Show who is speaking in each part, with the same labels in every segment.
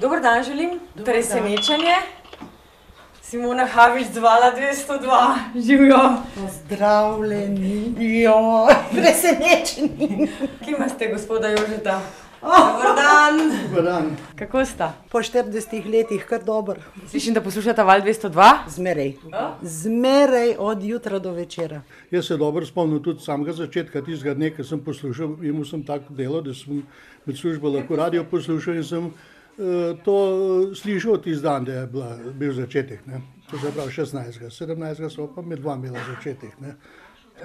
Speaker 1: Dober dan želim,
Speaker 2: Dober
Speaker 1: presenečenje. Simona Havič zvala 202, živijo.
Speaker 2: Pozdravljeni, jo, presenečeni.
Speaker 1: Kje imate gospoda Jožeta? Dober dan.
Speaker 3: Dober dan.
Speaker 1: Kako sta?
Speaker 2: Po 40 letih, kar dobro,
Speaker 1: Slišim, da poslušate val 202.
Speaker 2: zmeraj.
Speaker 1: A?
Speaker 2: Zmeraj od jutra do večera.
Speaker 3: Jaz se dobro spomnim tudi samega začetka tistega dne, ko sem poslušal, imel sem tako delo, da sem med službo lahko radio poslušal in sem eh, to eh, slišal tisti dan, da je bila, bil začetek. Ne? To se pravi 16. 17. so pa med dva imela začetek. Ne?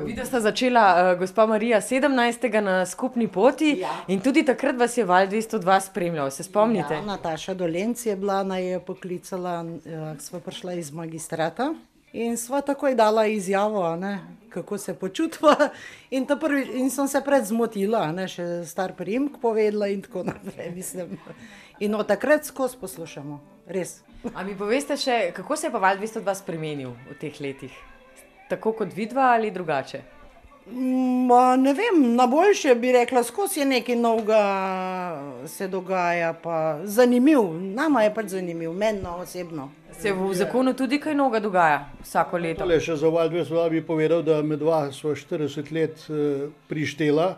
Speaker 1: Videla sta začela uh, gospa Marija 17. na skupni poti ja.
Speaker 2: Ja.
Speaker 1: in tudi takrat vas je val 202 spremljal, se spomnite?
Speaker 2: Ja, Nataša Dolenc je bila, naj je poklicala, eh, sva prišla iz magistrata. In sva takoj dala izjavo, a ne, kako se počutila. In, ta prvi, in sem se pred zmotila, a ne, še star primek povedala in tako naprej. Mislim. In od takrat skozi poslušamo, res.
Speaker 1: A mi poveste še, kako se je pa val 202 spremenil v teh letih? Tako kot vidva ali drugače?
Speaker 2: Ma, Mm, ne vem, na boljše bi rekla, skozi je nekaj novega eh, se dogaja, pa zanimiv, nama je pač zanimiv, meni no, osebno.
Speaker 1: Se v zakonu tudi kaj novega dogaja vsako leto?
Speaker 3: Tole še za Valdve Slova bi povedal, da med dva so 40 let eh, prištela.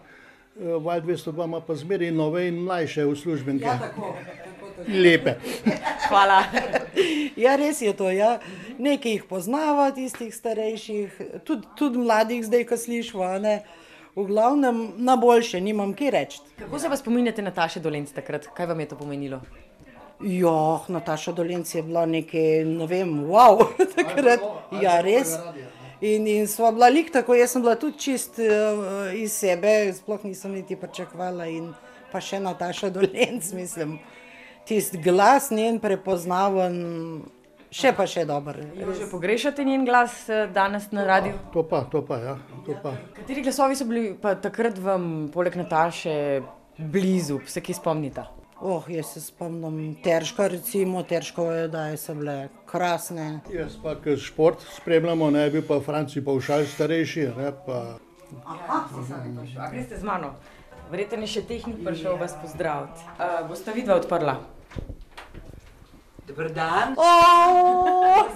Speaker 3: eh, Valdve Slova ima pa zmeraj nove in mlajše uslužbenke. Ja, tako. Lepe.
Speaker 1: Hvala.
Speaker 2: Ja, res je to, ja. nekaj jih poznava, tistih starejših, tudi tud mladih, zdaj, ko slišva, a ne. v glavnem na boljše, nimam kje reči.
Speaker 1: Kako se pa spominjate Nataše Dolenc takrat? Kaj vam je to pomenilo?
Speaker 2: Joh, Nataša Dolenc je bila nekaj, ne vem, wow, takrat. Ja, res. In, in sva bila lik tako, jaz sem bila tudi čist uh, iz sebe, sploh nisem niti pričakovala. In pa še Nataša Dolenc, mislim, tisti glas njen prepoznaven, še pa še dober.
Speaker 1: Jo že pogrešate njen glas eh, danes na radiju?
Speaker 3: To pa, to pa, ja. To pa.
Speaker 1: Kateri glasovi so bili pa takrat vam, poleg Nataše, blizu, se ki spomnite?
Speaker 2: Oh, jaz se spomnim, težko recimo, težko je, da so bile krasne.
Speaker 3: Jaz pa, ki šport spremljamo, ne bi pa Franci Pavšal starejši, ne pa
Speaker 1: A greste z mano? Verjetno je še tehnik prišel vas pozdraviti. Uh, boste vidva odprla?
Speaker 4: Dober dan.
Speaker 2: Oh,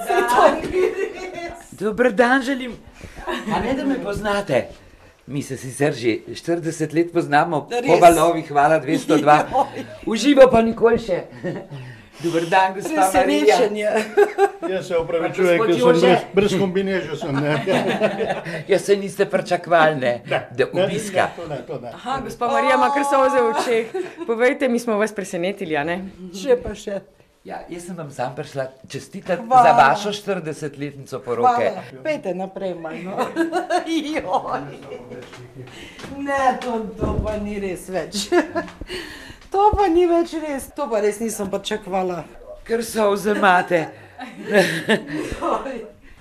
Speaker 4: Dober dan želim. A ne, da me poznate. Mi se sicer že 40 let poznamo,
Speaker 2: Res?
Speaker 4: po valovih, hvala 202. Uživo pa nikoli še. Dober dan, gospa Marija.
Speaker 2: Presenečen je.
Speaker 3: jaz se upravičujem,
Speaker 4: Gospod
Speaker 3: ker sem
Speaker 4: Jože.
Speaker 3: brez, brez kombineža. Sem, ne.
Speaker 4: Ja, se niste pričakvali, ne, da obiska.
Speaker 3: Ne, to ne, to ne.
Speaker 1: Aha, gospa Marija ima kar soze v očeh. Povejte, mi smo vas presenetili, a ne?
Speaker 2: Še pa še.
Speaker 4: Ja, jaz sem vam sam prišla čestitati
Speaker 2: Hvala.
Speaker 4: za vašo 40-letnico poroke.
Speaker 2: Hvala. Pejte naprej, malo. Joj. ne, to, to pa ni res več. to pa ni več res, to pa res nisem pričakvala.
Speaker 4: Ker so vzemate.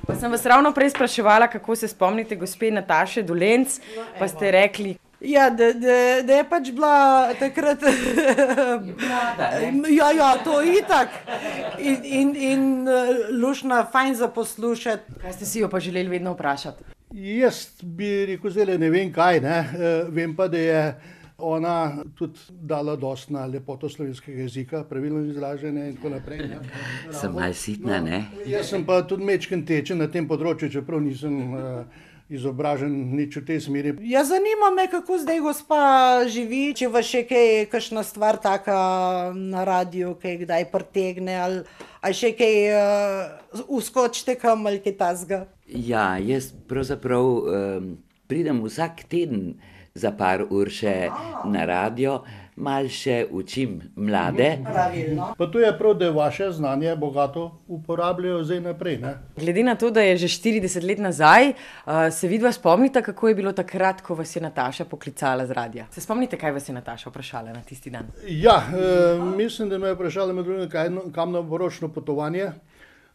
Speaker 1: Pa sem vas ravno prej spraševala, kako se spomnite gospe Nataše Dolenc, pa ste rekli,
Speaker 2: Ja, da, da, da je pač bila takrat. ja, ja, to je itak. In, in, in eh, lušna, fajn za poslušati.
Speaker 1: kaj ste si jo pa želeli vedno vprašati.
Speaker 3: Jaz bi rekel, zelo ne vem kaj, ne. eh, vem pa, da je ona tudi dala dost na lepoto slovenskega jezika, pravilno izražene in tako naprej. Ne.
Speaker 4: Sem malo sitna, ne?
Speaker 3: Jaz sem pa tudi mečken tečen na tem področju, čeprav nisem eh, izobražen nič v tej smeri.
Speaker 2: Ja, zanima me, kako zdaj gospa živi, če vas še kaj, kakšna stvar taka na radiju, kaj kdaj pretegne, ali, ali še kaj uh, uskočite kam ali kaj tasga.
Speaker 4: Ja, jaz pravzaprav um, pridem vsak teden za par ur še na radio, malo še učim mlade.
Speaker 2: Pravilno.
Speaker 3: Pa to je prav, da vaše znanje bogato uporabljajo zdaj naprej. Ne.
Speaker 1: Glede na to, da je že 40 let nazaj, uh, se vidva spomnite, kako je bilo takrat, ko vas je Nataša poklicala z radia. Se spomnite, kaj vas je Nataša vprašala na tisti dan?
Speaker 3: Ja, eh, mislim, da me je vprašala med drugim, kaj, no- kam na ročno potovanje.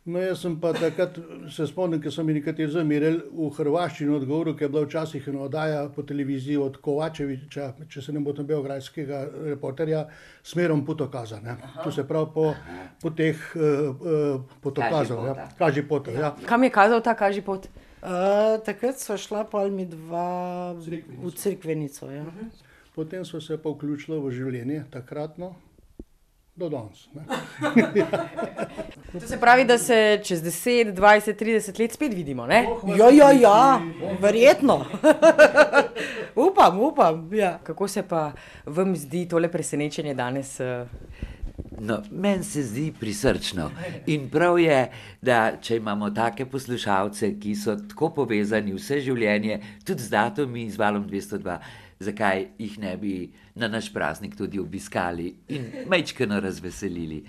Speaker 3: No, jaz sem pa takrat se spomnil, ker so mi nekateri zamerili v hrvaščini odgovor, ki je bila včasih ena oddaja po televiziji od Kovačeviča, če se ne bo tam belgrajskega reporterja, smerom putokaza. ne. To se pravi po, po teh eh, eh, potokazov, ja.
Speaker 4: pota.
Speaker 3: kaži potov. Ja.
Speaker 1: Kam je kazal ta kaži pot?
Speaker 2: Uh, takrat so šla pa mi dva v cerkvenico. Ja.
Speaker 3: Potem so se pa vključili v življenje takratno. do danes. ne.
Speaker 1: To se pravi, da se čez 10, 20, 30 let spet vidimo. Ne?
Speaker 2: Ja, ja, ja, verjetno. upam, upam. Ja.
Speaker 1: Kako se pa vam zdi tole presenečenje danes? eh,
Speaker 4: No, meni se zdi prisrčno in prav je, da če imamo take poslušalce, ki so tako povezani vse življenje, tudi z datumi in z valom 202, zakaj jih ne bi na naš praznik tudi obiskali in mečkano razveselili.